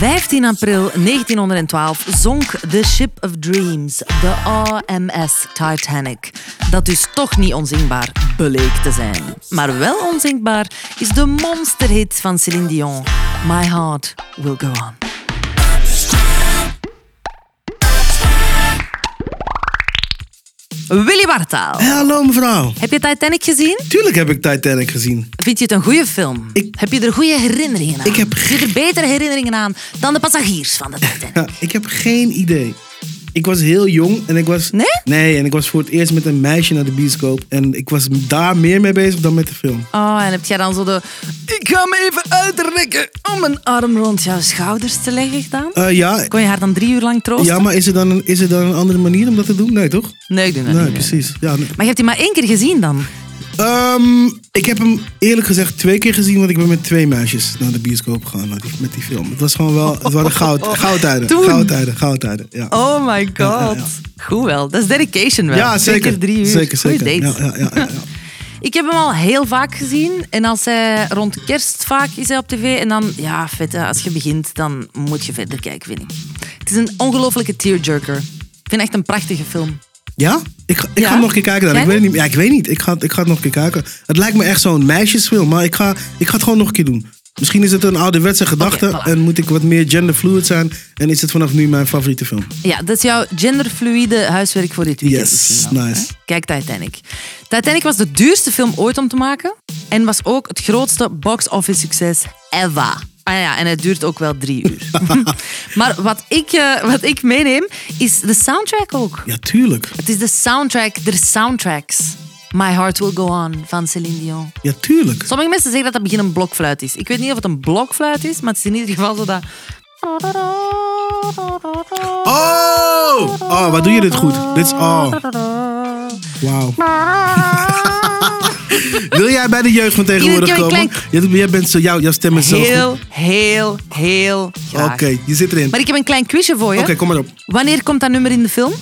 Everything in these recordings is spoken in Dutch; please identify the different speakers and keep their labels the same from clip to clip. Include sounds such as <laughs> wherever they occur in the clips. Speaker 1: 15 april 1912 zonk The Ship of Dreams, de AMS Titanic. Dat dus toch niet onzinkbaar bleek te zijn. Maar wel onzinkbaar is de monsterhit van Céline Dion, My Heart Will Go On. Willy Wartaal,
Speaker 2: Hé, hallo mevrouw.
Speaker 1: heb je Titanic gezien?
Speaker 2: Tuurlijk heb ik Titanic gezien.
Speaker 1: Vind je het een goede film?
Speaker 2: Ik-
Speaker 1: Heb je er goede herinneringen aan?
Speaker 2: Ik heb
Speaker 1: Heb je er betere herinneringen aan dan de passagiers van de Titanic?
Speaker 2: Ja, ik heb geen idee. Ik was heel jong en ik was...
Speaker 1: Nee?
Speaker 2: Nee, en ik was voor het eerst met een meisje naar de bioscoop. En ik was daar meer mee bezig dan met de film.
Speaker 1: Oh, en heb jij dan zo de... Ik ga me even uitrekken om mijn arm rond jouw schouders te leggen dan?
Speaker 2: Eh, ja,
Speaker 1: Kon je haar dan drie uur lang troosten?
Speaker 2: ja, maar is er, dan een, is er dan een andere manier om dat te doen? Nee, toch?
Speaker 1: Nee, ik doe dat
Speaker 2: Nee,
Speaker 1: niet.
Speaker 2: precies. Ja, nee.
Speaker 1: Maar je hebt die maar één keer gezien dan?
Speaker 2: Ehm, ik heb hem eerlijk gezegd twee keer gezien, want ik ben met twee meisjes naar de bioscoop gegaan met die, met die film. Het was gewoon wel, het waren goud, goudtijden,
Speaker 1: Oh, Toen.
Speaker 2: goudtijden, goudtijden. Ja,
Speaker 1: Oh my god.
Speaker 2: ja, ja.
Speaker 1: Goed wel. Dat is dedication wel.
Speaker 2: ja
Speaker 1: Twee
Speaker 2: zeker.
Speaker 1: keer drie uur.
Speaker 2: Zeker,
Speaker 1: Goeie
Speaker 2: zeker.
Speaker 1: date.
Speaker 2: Ja, ja, ja, ja, ja.
Speaker 1: Ik heb hem al heel vaak gezien. En als hij rond kerst vaak is hij op tv. En dan, ja, vet, hè. als je begint, dan moet je verder kijken, vind ik. Het is een ongelofelijke tearjerker. Ik vind het echt een prachtige film.
Speaker 2: Ja? Ik, ga- ik
Speaker 1: Ja?
Speaker 2: ga hem nog een keer kijken dan.
Speaker 1: Jij
Speaker 2: Ik weet, het niet, ja, ik weet niet. Ik ga, ik ga het nog een keer kijken. Het lijkt me echt zo'n meisjesfilm, maar ik ga, ik ga het gewoon nog een keer doen. Misschien is het een ouderwetse gedachte
Speaker 1: Oké, voilà.
Speaker 2: en moet ik wat meer genderfluid zijn. En is het vanaf nu mijn favoriete film.
Speaker 1: Ja, dat is jouw genderfluïde huiswerk voor dit weekend.
Speaker 2: Yes,
Speaker 1: misschien dan,
Speaker 2: nice.
Speaker 1: nou, hè? Kijk Titanic. Titanic was de duurste film ooit om te maken. En was ook het grootste box-office succes ever. Ah ja, en het duurt ook wel drie
Speaker 2: <laughs>
Speaker 1: uur. maar wat ik, eh, wat ik meeneem, is de soundtrack ook.
Speaker 2: Ja, tuurlijk.
Speaker 1: Het is de soundtrack der soundtracks. My Heart Will Go On van Celine Dion.
Speaker 2: Ja, tuurlijk.
Speaker 1: Sommige mensen zeggen dat dat begin een blokfluit is. Ik weet niet of het een blokfluit is, maar het is in ieder geval zo dat...
Speaker 2: Oh! Oh, wat doe je dit goed? Dit is... Oh, wauw. Wil jij bij de jeugd van tegenwoordig
Speaker 1: Iedere keer een
Speaker 2: komen? Jij, jij bent zo, jouw, jouw stem is <laughs> zo goed.
Speaker 1: Heel, heel, heel
Speaker 2: Oké,
Speaker 1: graag.
Speaker 2: je zit erin.
Speaker 1: Maar
Speaker 2: Oké,
Speaker 1: ik heb een klein quizje voor je.
Speaker 2: kom maar op.
Speaker 1: Wanneer komt dat nummer in de film?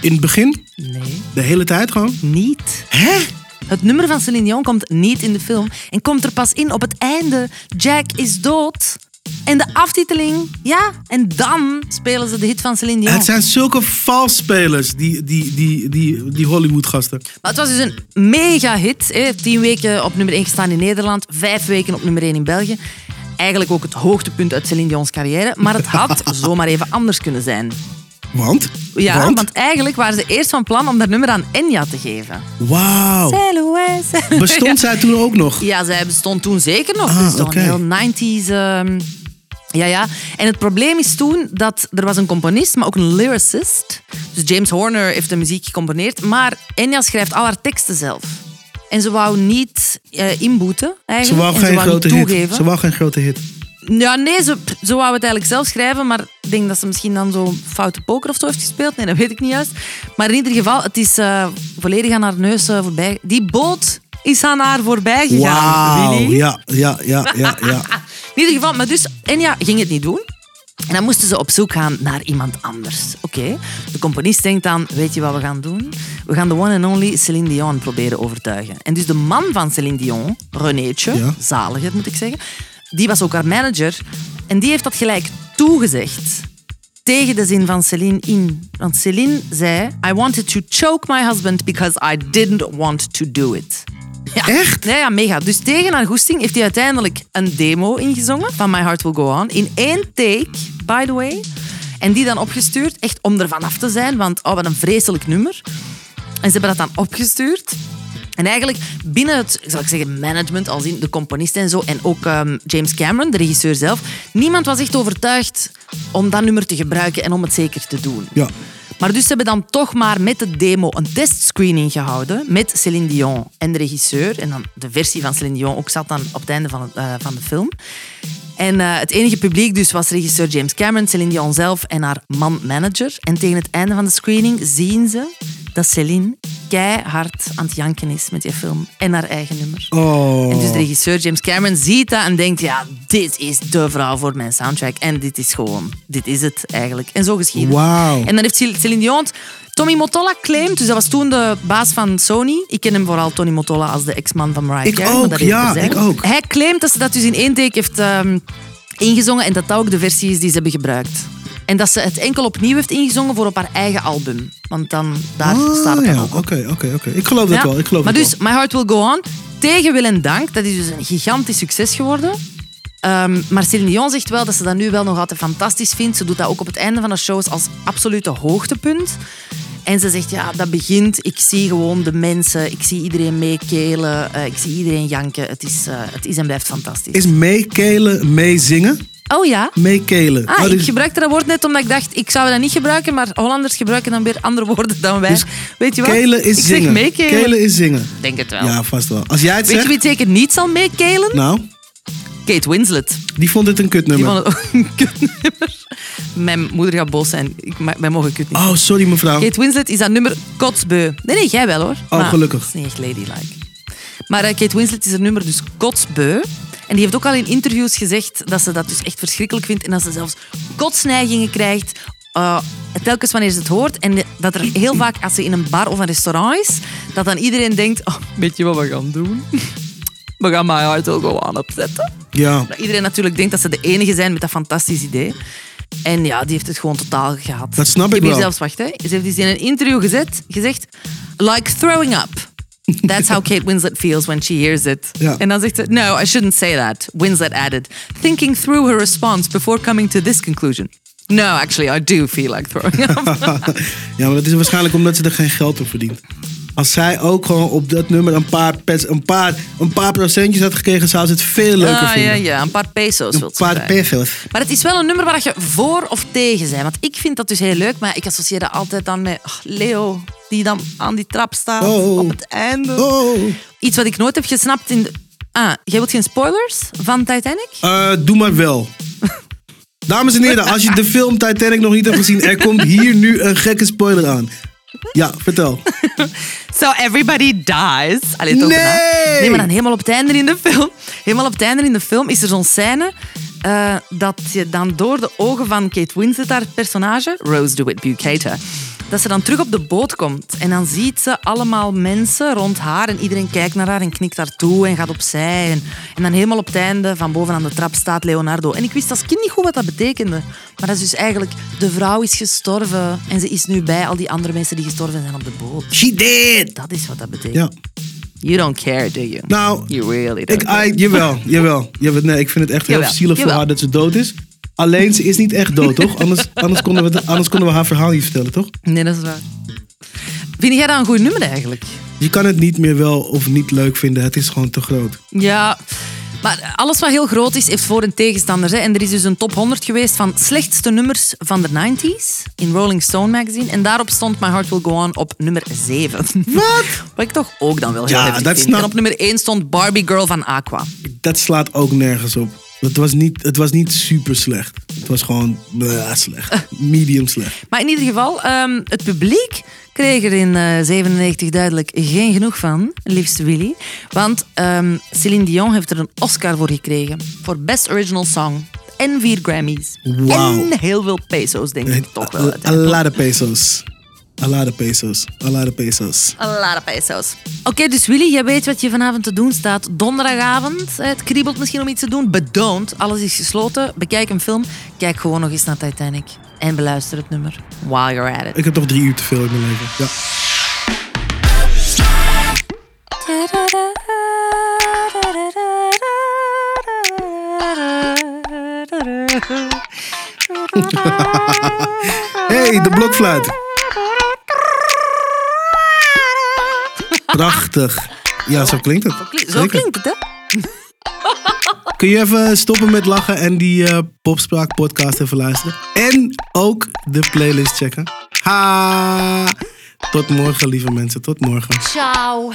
Speaker 2: In het begin,
Speaker 1: Nee.
Speaker 2: de hele tijd gewoon.
Speaker 1: Niet.
Speaker 2: Hè?
Speaker 1: Het nummer van Celine Dion komt niet in de film en komt er pas in op het einde. Jack is dood. En de aftiteling, ja. En dan spelen ze de hit van Celine Dion.
Speaker 2: Het zijn zulke valsspelers, die, die, die, die, die Hollywood-gasten.
Speaker 1: Maar het was dus een mega hit. Hè. Tien weken op nummer 1 gestaan in Nederland, vijf weken op nummer 1 in België. Eigenlijk ook het hoogtepunt uit Celine Dion's carrière, maar het <laughs> had zomaar even anders kunnen zijn.
Speaker 2: Want?
Speaker 1: Ja, want?
Speaker 2: Want?
Speaker 1: eigenlijk waren ze eerst van plan om dat nummer aan Enya te geven.
Speaker 2: Wauw.
Speaker 1: Sail away, sail away.
Speaker 2: Bestond zij toen ook nog?
Speaker 1: Ja, zij bestond toen zeker nog.
Speaker 2: Ah,
Speaker 1: dus zo'n
Speaker 2: oké.
Speaker 1: heel 90s. ehm, ja, ja. En het probleem is toen dat er was een componist, maar ook een lyricist. Dus James Horner heeft de muziek gecomponeerd. Maar Enya schrijft al haar teksten zelf. En ze wou niet eh, inboeten.
Speaker 2: Ze
Speaker 1: Eigenlijk.
Speaker 2: wou
Speaker 1: en ze
Speaker 2: geen
Speaker 1: wou
Speaker 2: grote
Speaker 1: niet
Speaker 2: hit.
Speaker 1: toegeven.
Speaker 2: Ze wou geen grote hit.
Speaker 1: Ja, nee, ze, ze wou het eigenlijk zelf schrijven, maar ik denk dat ze misschien dan zo'n foute poker of zo heeft gespeeld. Nee, dat weet ik niet juist. Maar in ieder geval, het is eh, volledig aan haar neus eh, voorbij. Die boot is aan haar voorbij gegaan,
Speaker 2: Wauw.
Speaker 1: Willy.
Speaker 2: Ja, ja, ja, ja, ja.
Speaker 1: <laughs> In ieder geval, maar dus Enya ging het niet doen. En dan moesten ze op zoek gaan naar iemand anders. Oké, de componist denkt dan, weet je wat we gaan doen? We gaan de one and only Céline Dion proberen overtuigen. En dus de man van Céline Dion, Renéetje,
Speaker 2: Ja.
Speaker 1: zaliger moet ik zeggen, die was ook haar manager. En die heeft dat gelijk toegezegd. Tegen de zin van Céline in. Want Céline zei, I wanted to choke my husband because I didn't want to do it. Ja.
Speaker 2: Echt?
Speaker 1: Ja, ja, mega. Dus tegen haar goesting heeft hij uiteindelijk een demo ingezongen van My Heart Will Go On. In één take, by the way. En die dan opgestuurd, echt om er vanaf te zijn, want oh, wat een vreselijk nummer. En ze hebben dat dan opgestuurd. En eigenlijk binnen het, zal ik zeggen, management, als in de componist en zo, en ook ehm, James Cameron, de regisseur zelf, niemand was echt overtuigd om dat nummer te gebruiken en om het zeker te doen. <laughs>
Speaker 2: Ja.
Speaker 1: Maar dus ze hebben dan toch maar met de demo een testscreening gehouden met Céline Dion en de regisseur. En dan de versie van Céline Dion ook zat dan op het einde van, het, eh, van de film. En eh, het enige publiek dus was regisseur James Cameron, Céline Dion zelf en haar man-manager. En tegen het einde van de screening zien ze dat Céline keihard aan het janken is met die film en haar eigen nummer. En dus de
Speaker 2: Oh.
Speaker 1: regisseur James Cameron ziet dat en denkt, ja, dit is de vrouw voor mijn soundtrack. En dit is gewoon, dit is het eigenlijk. En zo geschieden.
Speaker 2: Wauw.
Speaker 1: En dan heeft Cel- Céline Dion het Tommy Mottola claimt, dus dat was toen de baas van Sony. Ik ken hem vooral, Tony Mottola, als de ex-man van Mariah
Speaker 2: Ik
Speaker 1: Carey.
Speaker 2: ook,
Speaker 1: maar dat heeft
Speaker 2: ja,
Speaker 1: terzijde.
Speaker 2: ik ook.
Speaker 1: Hij claimt dat ze dat dus in één take heeft ehm, ingezongen en dat dat ook de versie is die ze hebben gebruikt. En dat ze het enkel opnieuw heeft ingezongen voor op haar eigen album. Want dan, daar staat het dan
Speaker 2: Ah, ja.
Speaker 1: ook op.
Speaker 2: Oké, oké, oké. Ik geloof dat
Speaker 1: Ja.
Speaker 2: wel. Ik geloof
Speaker 1: maar
Speaker 2: dat
Speaker 1: dus, My Heart Will Go On, tegen wil en dank, dat is dus een gigantisch succes geworden. Ehm, maar Céline Dion zegt wel dat ze dat nu wel nog altijd fantastisch vindt. Ze doet dat ook op het einde van de shows als absolute hoogtepunt. En ze zegt, ja, dat begint. Ik zie gewoon de mensen. Ik zie iedereen meekelen. eh, ik zie iedereen janken. Het is, eh, het is en blijft fantastisch.
Speaker 2: wel. Is meekelen, meezingen?
Speaker 1: Oh ja?
Speaker 2: Meekelen.
Speaker 1: Ah,
Speaker 2: Oh,
Speaker 1: ik
Speaker 2: dus-
Speaker 1: gebruikte dat woord net omdat ik dacht, ik zou dat niet gebruiken, maar Hollanders gebruiken dan weer andere woorden dan wij. Weet je wat?
Speaker 2: Kelen Dus is
Speaker 1: ik
Speaker 2: zingen.
Speaker 1: zeg meekelen.
Speaker 2: Kelen is zingen.
Speaker 1: Ik denk het wel.
Speaker 2: Ja, vast wel. Als jij het
Speaker 1: Weet je
Speaker 2: zegt...
Speaker 1: wie het zeker niet zal meekelen?
Speaker 2: Nou,
Speaker 1: Kate Winslet.
Speaker 2: die vond dit een
Speaker 1: Die
Speaker 2: kutnummer.
Speaker 1: vond het ook een kutnummer. <laughs> Mijn moeder gaat boos zijn. Ik, ma- wij mogen kut niet.
Speaker 2: Oh, sorry mevrouw.
Speaker 1: Kate Winslet is dat nummer kotsbeu. Nee, nee, jij wel hoor.
Speaker 2: Oh, gelukkig.
Speaker 1: Dat is niet echt ladylike. Maar eh, Kate Winslet is haar nummer dus kotsbeu. En die heeft ook al in interviews gezegd dat ze dat dus echt verschrikkelijk vindt. En dat ze zelfs kotsneigingen krijgt. eh, telkens wanneer ze het hoort. En dat er heel vaak, als ze in een bar of een restaurant is, dat dan iedereen denkt... Oh, weet je wat we gaan doen? We gaan My Heart Will Go On opzetten.
Speaker 2: Ja.
Speaker 1: Dat iedereen natuurlijk denkt dat ze de enige zijn met dat fantastisch idee. En ja, die heeft het gewoon totaal gehad.
Speaker 2: Dat snap ik
Speaker 1: heb hier
Speaker 2: wel.
Speaker 1: zelfs, wacht, hè. ze heeft iets in een interview gezet, gezegd... Like throwing up. That's how Kate Winslet feels when she hears it.
Speaker 2: Ja.
Speaker 1: En dan zegt ze, no, I shouldn't say that. Winslet added, thinking through her response before coming to this conclusion. No, actually, I do feel like throwing
Speaker 2: <laughs>
Speaker 1: up.
Speaker 2: ja, maar dat is waarschijnlijk omdat ze er geen geld op verdient. Als zij ook gewoon op dat nummer een paar, pets, een paar, een paar procentjes had gekregen, zou ze het veel leuker
Speaker 1: ah, ja,
Speaker 2: vinden.
Speaker 1: ja, een paar peso's
Speaker 2: Een
Speaker 1: wil ze
Speaker 2: paar
Speaker 1: krijgen.
Speaker 2: pesos.
Speaker 1: Maar het is wel een nummer waar je voor of tegen bent. Want ik vind dat dus heel leuk, maar ik associeer dat altijd dan met oh, Leo, die dan aan die trap staat
Speaker 2: Oh.
Speaker 1: op het einde.
Speaker 2: Oh.
Speaker 1: Iets wat ik nooit heb gesnapt in... de- Ah, jij wilt geen spoilers van Titanic?
Speaker 2: Eh, doe maar wel. Dames en heren, als je de film Titanic nog niet hebt gezien, er komt hier nu een gekke spoiler aan. Ja, vertel.
Speaker 1: So everybody dies. Allee, toch
Speaker 2: Nee!
Speaker 1: bijna. Nee, maar dan helemaal op het einde in de film. Helemaal op het einde in de film is er zo'n scène eh, dat je dan door de ogen van Kate Winslet, haar personage, Rose DeWitt Bucater, dat ze dan terug op de boot komt. En dan ziet ze allemaal mensen rond haar en iedereen kijkt naar haar en knikt haar toe en gaat opzij. En, en dan helemaal op het einde, van boven aan de trap, staat Leonardo. En ik wist als kind niet goed wat dat betekende. Maar dat is dus eigenlijk, de vrouw is gestorven en ze is nu bij al die andere mensen die gestorven zijn op de boot.
Speaker 2: She did!
Speaker 1: Dat is wat dat betekent.
Speaker 2: Ja.
Speaker 1: You don't care, do you?
Speaker 2: Nou,
Speaker 1: You really don't
Speaker 2: ik,
Speaker 1: care.
Speaker 2: I, jawel, jawel, jawel. Nee, ik vind het echt heel
Speaker 1: Jawel,
Speaker 2: zielig voor
Speaker 1: jawel.
Speaker 2: haar dat ze dood is. Alleen, ze is niet echt dood, toch? Anders, anders, konden we, het- anders konden we haar verhaal niet vertellen, toch?
Speaker 1: Nee, dat is waar. Vind jij dat een goed nummer eigenlijk?
Speaker 2: Je kan het niet meer wel of niet leuk vinden. Het is gewoon te groot.
Speaker 1: Ja, maar alles wat heel groot is, heeft voor- en tegenstanders. Hè. En er is dus een top 100 geweest van slechtste nummers van de 90s in Rolling Stone magazine. En daarop stond My Heart Will Go On op nummer 7. Wat? <laughs> Wat ik toch ook dan wel heel
Speaker 2: Ja,
Speaker 1: heftig
Speaker 2: dat nou-
Speaker 1: vind.
Speaker 2: snap-
Speaker 1: En op nummer 1 stond Barbie Girl van Aqua.
Speaker 2: Dat slaat ook nergens op. Het was niet, het was niet super slecht. Het was gewoon
Speaker 1: <laughs>
Speaker 2: blah, slecht. Medium slecht.
Speaker 1: Maar in ieder geval, ehm, het publiek kreeg er in eh 97 duidelijk geen genoeg van, liefste Willy. Want ehm Céline Dion heeft er een Oscar voor gekregen. Voor Best Original Song. En vier Grammys.
Speaker 2: Wauw. Eh,
Speaker 1: En heel veel peso's, denk ik toch wel.
Speaker 2: A, a lot of pesos. A lot of pesos. A lot of pesos.
Speaker 1: A lot of peso's. Oké, dus Willy, jij weet wat je vanavond te doen staat. Donderdagavond, eh, het kriebelt misschien om iets te doen. Bedoond, alles is gesloten. Bekijk een film. Kijk gewoon nog eens naar Titanic. En beluister het nummer. While you're at it.
Speaker 2: Ik heb toch drie uur te veel in mijn leven. Ja. Hey, de blokfluit. Prachtig. Ja, zo klinkt het.
Speaker 1: Zo
Speaker 2: Zeker.
Speaker 1: klinkt het, hè?
Speaker 2: Kun je even stoppen met lachen en die eh, Popspraak podcast even luisteren? En ook de playlist checken. Ha! Tot morgen, lieve mensen. Tot morgen.
Speaker 1: Ciao.